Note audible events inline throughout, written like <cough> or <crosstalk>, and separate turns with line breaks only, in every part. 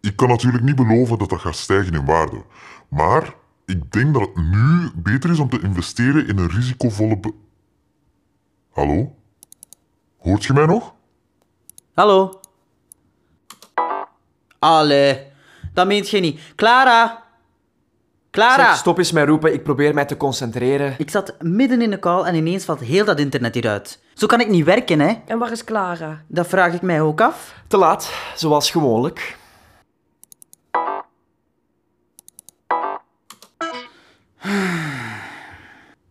Ik kan natuurlijk niet beloven dat dat gaat stijgen in waarde. Maar ik denk dat het nu beter is om te investeren in een risicovolle be... Hallo? Hoort je mij nog?
Hallo? Allee, dat meent je niet. Clara! Clara!
Zeg, stop eens met roepen, ik probeer mij te concentreren.
Ik zat midden in de call en ineens valt heel dat internet hieruit. Zo kan ik niet werken, hè?
En waar is Clara?
Dat vraag ik mij ook af.
Te laat, zoals gewoonlijk.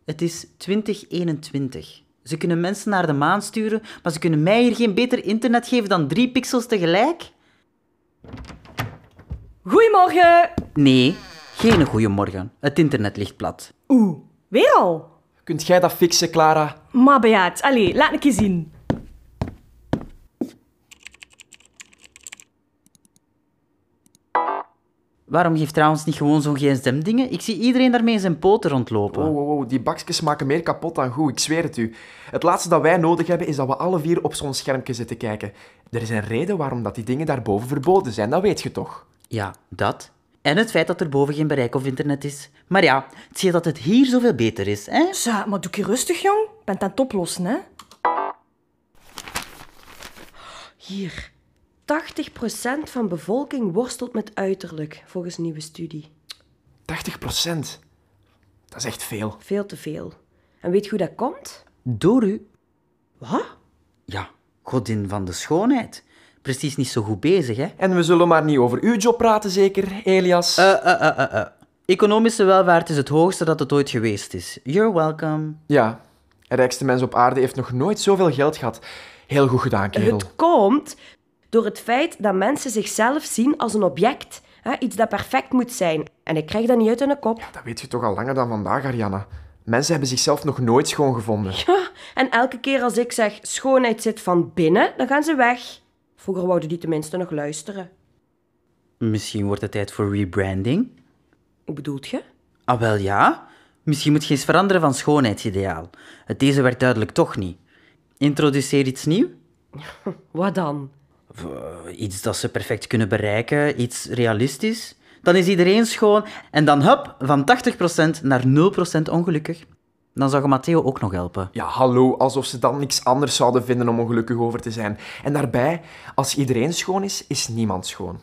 Het is 2021. Ze kunnen mensen naar de maan sturen, maar ze kunnen mij hier geen beter internet geven dan drie pixels tegelijk?
Goedemorgen!
Nee, geen goeiemorgen. Het internet ligt plat.
Oeh, weer al?
Kunt jij dat fixen, Clara?
Maar bejaard, allee, laat een keer zien.
Waarom geeft trouwens niet gewoon zo'n gsm-dingen? Ik zie iedereen daarmee in zijn poten rondlopen.
Oh, oh, oh, die bakjes maken meer kapot dan goed, ik zweer het u. Het laatste dat wij nodig hebben is dat we alle vier op zo'n schermpje zitten kijken. Er is een reden waarom dat die dingen daarboven verboden zijn, dat weet je toch?
Ja, dat. En het feit dat er boven geen bereik of internet is. Maar ja, het zie je dat het hier zoveel beter is, hè?
Zo, maar doe je rustig, jong. Ik ben het aan het oplossen, hè? Hier. 80% van bevolking worstelt met uiterlijk, volgens een nieuwe studie.
80 Dat is echt veel.
Veel te veel. En weet je hoe dat komt?
Door u.
Wat?
Ja, godin van de schoonheid. Precies niet zo goed bezig, hè?
En we zullen maar niet over uw job praten, zeker, Elias?
Eh, eh, eh, eh, eh. Economische welvaart is het hoogste dat het ooit geweest is. You're welcome.
Ja, de rijkste mens op aarde heeft nog nooit zoveel geld gehad. Heel goed gedaan, kerel.
Het komt door het feit dat mensen zichzelf zien als een object. Hè? Iets dat perfect moet zijn. En ik krijg dat niet uit in de kop.
Dat weet je toch al langer dan vandaag, Ariana. Mensen hebben zichzelf nog nooit schoon gevonden.
Ja, En elke keer als ik zeg schoonheid zit van binnen, dan gaan ze weg. Vroeger wouden die tenminste nog luisteren.
Misschien wordt het tijd voor rebranding?
Hoe bedoelt je?
Ah, wel ja. Misschien moet je eens veranderen van schoonheidsideaal. Het deze werkt duidelijk toch niet. Introduceer iets nieuw.
Wat dan?
Eh, Iets dat ze perfect kunnen bereiken, iets realistisch. Dan is iedereen schoon en dan hup, van 80% naar 0% ongelukkig. Dan zou je Matteo ook nog helpen.
Ja, hallo, alsof ze dan niks anders zouden vinden om ongelukkig over te zijn. En daarbij, als iedereen schoon is, is niemand schoon.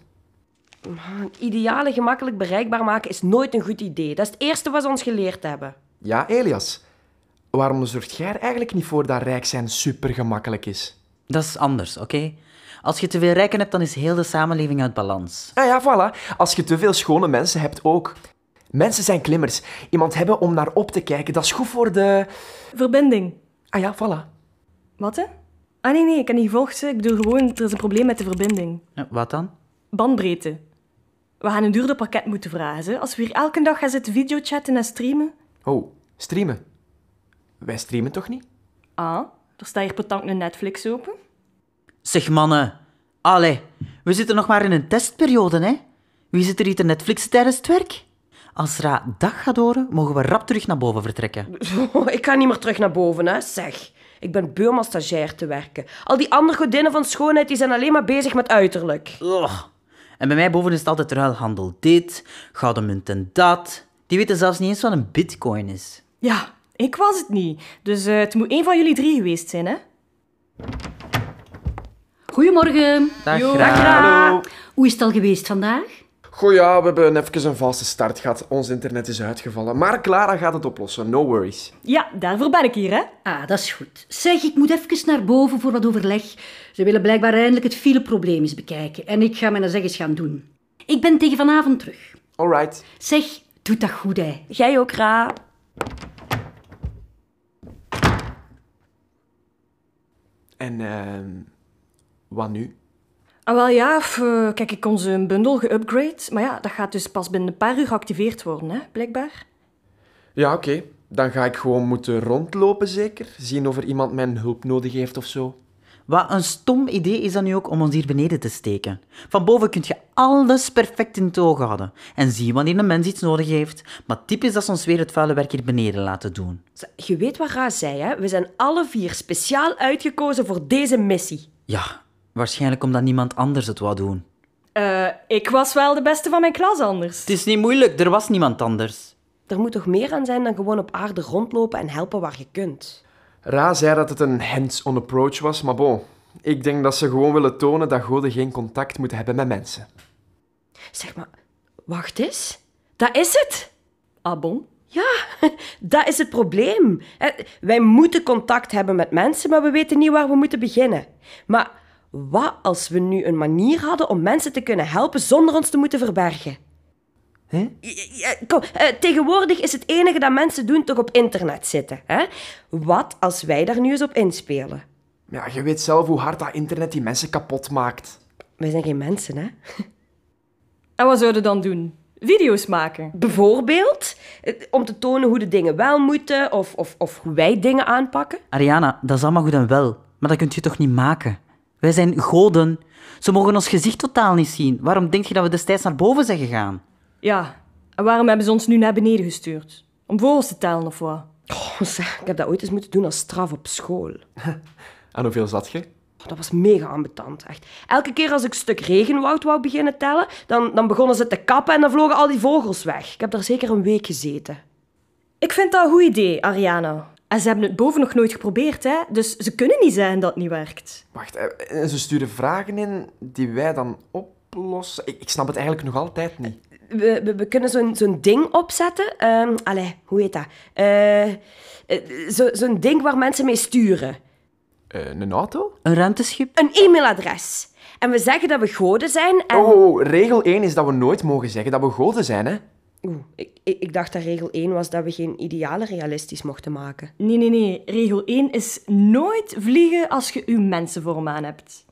Idealen gemakkelijk bereikbaar maken is nooit een goed idee. Dat is het eerste wat ze ons geleerd hebben.
Ja, Elias, waarom zorgt jij er eigenlijk niet voor dat rijk zijn supergemakkelijk is?
Dat is anders, oké? Als je te veel rijken hebt, dan is heel de samenleving uit balans.
Ah ja, voilà, als je te veel schone mensen hebt ook. Mensen zijn klimmers. Iemand hebben om naar op te kijken, dat is goed voor de...
Verbinding.
Ah ja, voilà.
Wat hè? Ah nee, nee, ik heb niet gevolgd. hè. Ik bedoel gewoon, er is een probleem met de verbinding.
Eh, Wat dan?
Bandbreedte. We gaan een duurder pakket moeten vragen. hè. Als we hier elke dag gaan zitten videochatten en streamen.
Oh, streamen. Wij streamen toch niet?
Ah, er staat hier petank een Netflix open.
Zeg mannen, allee, we zitten nog maar in een testperiode, hè? Wie zit er hier te Netflix tijdens het werk? Als Ra dag gaat horen, mogen we rap terug naar boven vertrekken.
Oh, ik ga niet meer terug naar boven, hè. Zeg, ik ben beu om als stagiair te werken. Al die andere godinnen van schoonheid die zijn alleen maar bezig met uiterlijk.
Ugh. En bij mij boven is het altijd ruilhandel dit, gouden munt en dat. Die weten zelfs niet eens wat een bitcoin is.
Ja, ik was het niet. Dus eh, het moet één van jullie drie geweest zijn, hè?
Goedemorgen.
Dag,
Jo.
Ra.
Hallo.
Ehm, Hoe is het al geweest vandaag?
Goh ja, we hebben even een valse start gehad. Ons internet is uitgevallen. Maar Clara gaat het oplossen, no worries.
Ja, daarvoor ben ik hier, hè?
Ah, dat is goed. Zeg, ik moet even naar boven voor wat overleg. Ze willen blijkbaar eindelijk het fileprobleem eens bekijken. En ik ga mijn zeg eens gaan doen. Ik ben tegen vanavond terug.
Alright.
Zeg, doe dat goed, hè.
Jij ook, Ra.
En ehm wat nu?
Ah, wel ja, f, eh, kijk, ik kon ze een bundel geüpgrade. Maar ja, dat gaat dus pas binnen een paar uur geactiveerd worden, hè? Blijkbaar.
Ja, oké. Dan ga ik gewoon moeten rondlopen zeker. Zien of er iemand mijn hulp nodig heeft of zo.
Wat een stom idee is dat nu ook om ons hier beneden te steken. Van boven kun je alles perfect in het oog houden en zien wanneer een mens iets nodig heeft. Maar typisch dat ze ons weer het vuile werk hier beneden laten doen.
Zeg, Je weet wat Ra zei, hè. We zijn alle vier speciaal uitgekozen voor deze missie.
Ja, waarschijnlijk omdat niemand anders het wou doen.
Eh, Eh, ik was wel de beste van mijn klas anders.
Het is niet moeilijk, er was niemand anders.
Er moet toch meer aan zijn dan gewoon op aarde rondlopen en helpen waar je kunt.
Ra zei dat het een hands-on approach was, maar bon. Ik denk dat ze gewoon willen tonen dat goden geen contact moeten hebben met mensen.
Zeg maar, wacht eens. Dat is het.
Ah bon?
Ja, <laughs> dat is het probleem. Eh, Wij moeten contact hebben met mensen, maar we weten niet waar we moeten beginnen. Maar wat als we nu een manier hadden om mensen te kunnen helpen zonder ons te moeten verbergen? Ja, ja, Kom, eh, tegenwoordig is het enige dat mensen doen toch op internet zitten. Hè? Wat als wij daar nu eens op inspelen?
Ja, je weet zelf hoe hard dat internet die mensen kapot maakt.
Wij zijn geen mensen, hè?
En wat zouden we dan doen? Video's maken.
Bijvoorbeeld, eh, om te tonen hoe de dingen wel moeten of, of, of hoe wij dingen aanpakken.
Ariana, dat is allemaal goed en wel, maar dat kunt je toch niet maken? Wij zijn goden. Ze mogen ons gezicht totaal niet zien. Waarom denk je dat we destijds naar boven zijn gegaan?
Ja. En waarom hebben ze ons nu naar beneden gestuurd? Om voor ons te tellen of wat?
Oh, zeg, ik heb dat ooit eens moeten doen als straf op school.
En hoeveel zat je?
Oh, dat was mega ambetant, echt. Elke keer als ik een stuk regenwoud wou beginnen tellen, dan, dan begonnen ze te kappen en dan vlogen al die vogels weg. Ik heb daar zeker een week gezeten.
Ik vind dat een goed idee, Ariana. En ze hebben het boven nog nooit geprobeerd, hè? Dus ze kunnen niet zijn dat het niet werkt.
Wacht, eh, en ze sturen vragen in die wij dan oplossen. Ik, ik snap het eigenlijk nog altijd niet.
We, we, we kunnen zo'n zo'n ding opzetten. Ehm allee, hoe heet dat? Eh, eh, zo- zo'n ding waar mensen mee sturen.
Eh, een auto?
Een ruimteschip?
Een e-mailadres. En we zeggen dat we goden zijn en...
Oh, oh, regel 1 is dat we nooit mogen zeggen dat we goden zijn, hè?
Oeh, ik, ik, ik dacht dat regel 1 was dat we geen idealen realistisch mochten maken.
Nee, nee, nee. Regel 1 is nooit vliegen als je uw mensenvorm aan hebt.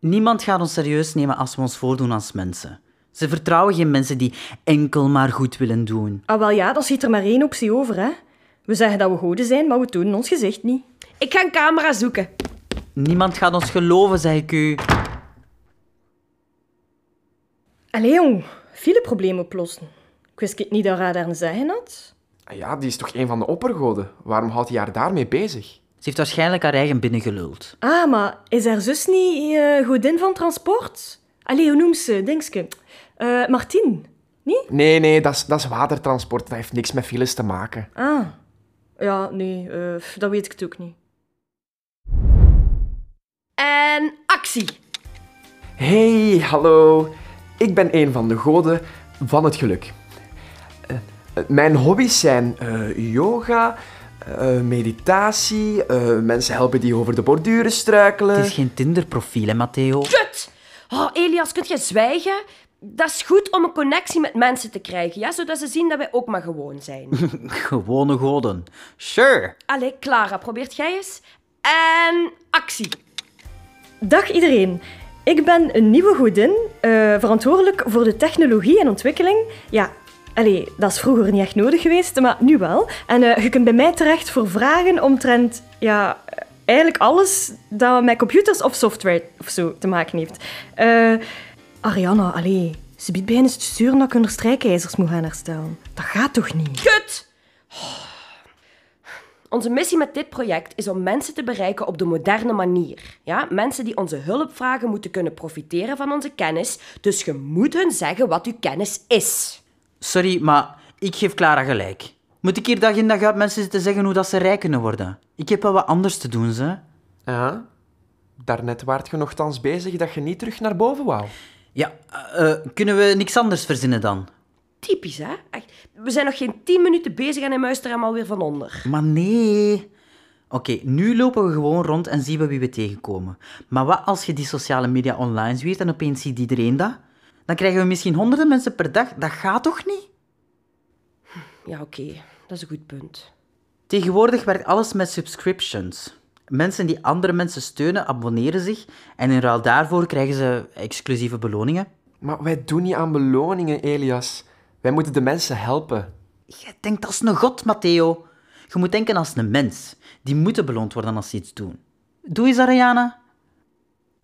Niemand gaat ons serieus nemen als we ons voordoen als mensen. Ze vertrouwen geen mensen die enkel maar goed willen doen.
Ah, wel ja, dan schiet er maar één optie over, hè? We zeggen dat we goden zijn, maar we tonen ons gezicht niet.
Ik ga een camera zoeken.
Niemand gaat ons geloven, zeg ik u.
Allee, jong. Viele problemen oplossen. Ik wist het niet dat Ra daar een zeggen had.
Ah Ja, die is toch een van de oppergoden? Waarom houdt hij haar daarmee bezig?
Ze heeft waarschijnlijk haar eigen binnengeluld.
Ah, maar is haar zus niet eh, godin van transport? Allee, hoe noemt ze? Denkske. Eh Martien. Nee?
Nee, nee, dat is, dat is watertransport. Dat heeft niks met files te maken.
Ah. Ja, nee. eh, dat weet ik het ook niet.
En actie!
Hey, hallo. Ik ben een van de goden van het geluk. Eh, eh, mijn hobby's zijn eh, yoga, eh, meditatie, eh, mensen helpen die over de borduren struikelen.
Het is geen Tinder-profiel, hè, Matteo?
Kut! Oh, Elias, kunt jij zwijgen? Dat is goed om een connectie met mensen te krijgen, ja? zodat ze zien dat wij ook maar gewoon zijn.
Gewone goden. Sure.
Allee, Clara, probeert jij eens? En actie!
Dag iedereen. Ik ben een nieuwe godin, eh, verantwoordelijk voor de technologie en ontwikkeling. Ja, allee, dat is vroeger niet echt nodig geweest, maar nu wel. En eh, je kunt bij mij terecht voor vragen omtrent, ja, eh, eigenlijk alles dat met computers of software of zo te maken heeft. Eh, Ariana, allee, ze biedt bij eens te sturen dat ik hun strijkijzers moet gaan herstellen. Dat gaat toch niet?
Kut! Oh. Onze missie met dit project is om mensen te bereiken op de moderne manier. Ja? Mensen die onze hulp vragen moeten kunnen profiteren van onze kennis, dus je moet hun zeggen wat uw kennis is.
Sorry, maar ik geef Clara gelijk. Moet ik hier dag in dag uit mensen zitten zeggen hoe dat ze rijk kunnen worden? Ik heb wel wat anders te doen, ze.
Ja, daarnet waart je nogthans bezig dat je niet terug naar boven wou.
Ja, eh, eh, kunnen we niks anders verzinnen dan?
Typisch, hè? Echt. We zijn nog geen tien minuten bezig en hij muist er hem alweer van onder.
Maar nee. Oké, nu lopen we gewoon rond en zien we wie we tegenkomen. Maar wat als je die sociale media online zwiert en opeens ziet iedereen dat? Dan krijgen we misschien honderden mensen per dag. Dat gaat toch niet?
Ja, oké. Dat is een goed punt.
Tegenwoordig werkt alles met subscriptions. Mensen die andere mensen steunen, abonneren zich en in ruil daarvoor krijgen ze exclusieve beloningen.
Maar wij doen niet aan beloningen, Elias. Wij moeten de mensen helpen.
Jij denkt als een god, Matteo. Je moet denken als een mens. Die moeten beloond worden als ze iets doen. Doe eens, Ariana.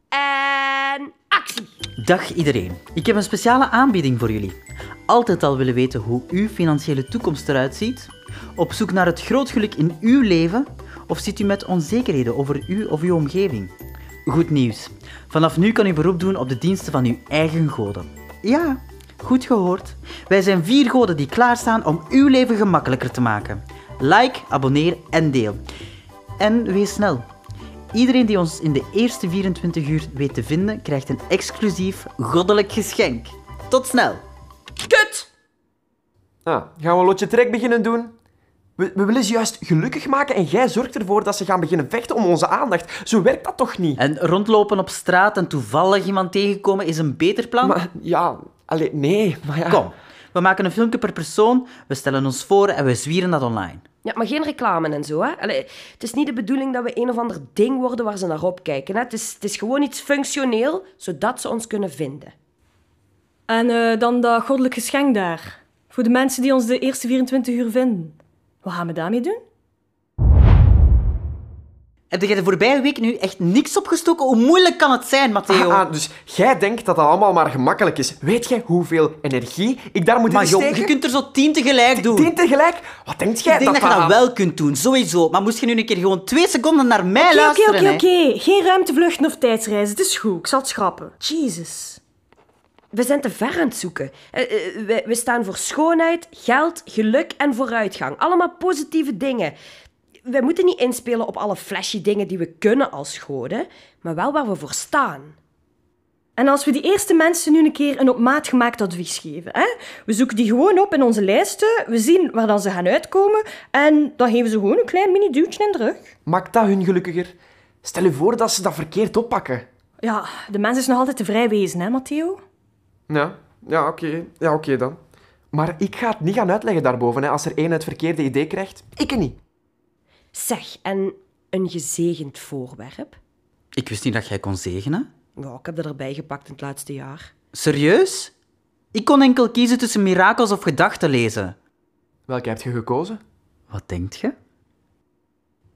En actie!
Dag iedereen. Ik heb een speciale aanbieding voor jullie. Altijd al willen weten hoe uw financiële toekomst eruit ziet? Op zoek naar het groot geluk in uw leven? Of zit u met onzekerheden over u of uw omgeving? Goed nieuws. Vanaf nu kan u beroep doen op de diensten van uw eigen goden. Ja, goed gehoord. Wij zijn vier goden die klaarstaan om uw leven gemakkelijker te maken. Like, abonneer en deel. En wees snel. Iedereen die ons in de eerste 24 uur weet te vinden, krijgt een exclusief goddelijk geschenk. Tot snel!
Kut!
Ah, gaan we een lotje trek beginnen doen? We, we willen ze juist gelukkig maken en jij zorgt ervoor dat ze gaan beginnen vechten om onze aandacht. Zo werkt dat toch niet?
En rondlopen op straat en toevallig iemand tegenkomen is een beter plan?
Maar ja, allee, nee, maar ja...
Kom, we maken een filmpje per persoon, we stellen ons voor en we zwieren dat online.
Ja, maar geen reclame en zo, hè. Allee, het is niet de bedoeling dat we een of ander ding worden waar ze naar opkijken, hè. Het is, het is gewoon iets functioneel, zodat ze ons kunnen vinden.
En eh, dan dat goddelijk geschenk daar. Voor de mensen die ons de eerste 24 uur vinden. Wat gaan we daarmee doen?
Heb jij de voorbije week nu echt niks opgestoken? Hoe moeilijk kan het zijn,
Ah,
Matteo?
ah, dus jij denkt dat dat allemaal maar gemakkelijk is. Weet jij hoeveel energie ik daar moet
maar
in
joh,
steken?
je kunt er zo tien tegelijk doen.
Tien tegelijk? Wat denkt jij
Ik denk dat je
dat
dat wel kunt doen, sowieso. Maar moest je nu een keer gewoon twee seconden naar mij
Oké,
luisteren?
oké, oké,
hè?
oké. Geen ruimtevluchten of tijdsreizen. Het is goed. Ik zal het schrappen. Jesus.
We zijn te ver aan het zoeken. Eh, eh, we, we staan voor schoonheid, geld, geluk en vooruitgang. Allemaal positieve dingen. We moeten niet inspelen op alle flashy dingen die we kunnen als goden, maar wel waar we voor staan.
En als we die eerste mensen nu een keer een op maat gemaakt advies geven, hè? we zoeken die gewoon op in onze lijsten, we zien waar dan ze gaan uitkomen en dan geven ze gewoon een klein mini-duwtje in de rug.
Maakt dat hun gelukkiger? Stel je voor dat ze dat verkeerd oppakken.
Ja, de mens is nog altijd te vrij wezen, hè, Matteo?
Ja, ja oké. Ja, oké dan. Maar ik ga het niet gaan uitleggen daarboven, hè, als er één het verkeerde idee krijgt. Ik niet.
Zeg, en een gezegend voorwerp?
Ik wist niet dat jij kon zegenen.
Ja, ik heb dat erbij gepakt in het laatste jaar.
Serieus? Ik kon enkel kiezen tussen mirakels of gedachten lezen.
Welke heb je gekozen?
Wat denkt je?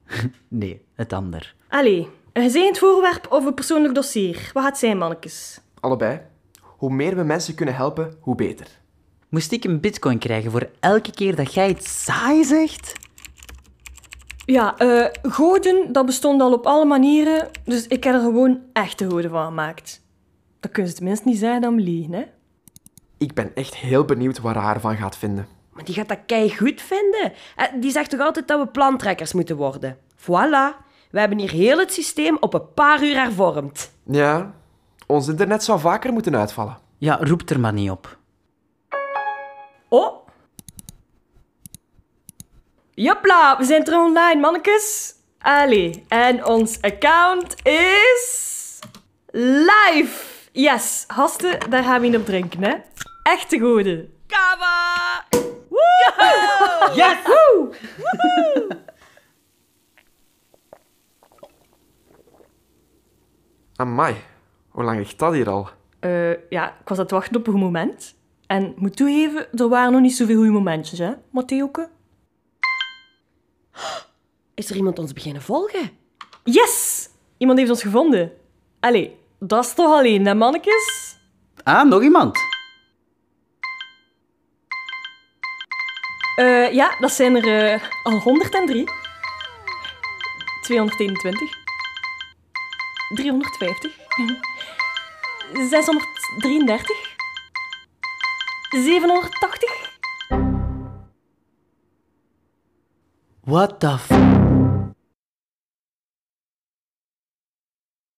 <laughs> nee, het ander.
Allee, een gezegend voorwerp of een persoonlijk dossier? Wat gaat het zijn, mannetjes?
Allebei. Hoe meer we mensen kunnen helpen, hoe beter.
Moest ik een bitcoin krijgen voor elke keer dat jij iets saai zegt?
Ja, eh, goden, dat bestond al op alle manieren, dus ik heb er gewoon echte goden van gemaakt. Dat kun je tenminste niet zeggen dan liegen, hè?
Ik ben echt heel benieuwd waar haar van gaat vinden.
Maar die gaat dat kei goed vinden. Eh, Die zegt toch altijd dat we plantrekkers moeten worden? Voilà. We hebben hier heel het systeem op een paar uur hervormd.
Ja, ons internet zou vaker moeten uitvallen.
Ja, roep er maar niet op.
Oh! Jopla, we zijn terug online, mannetjes. Allee, en ons account is... Live! Yes, gasten, daar gaan we in op drinken, hè. Echte goden.
Kava!
Yes!
Amai, hoe lang ligt dat hier al?
Eh, ja, ik was aan het wachten op een goed moment. En ik moet toegeven, er waren nog niet zoveel goede momentjes, hè, Matthäuke?
Is er iemand ons beginnen volgen?
Yes! Iemand heeft ons gevonden. Allee, dat is toch alleen, hè, mannetjes?
Ah, nog iemand.
Eh, ja, dat zijn er eh, al 103. 221. 350. 633. 780.
What the f...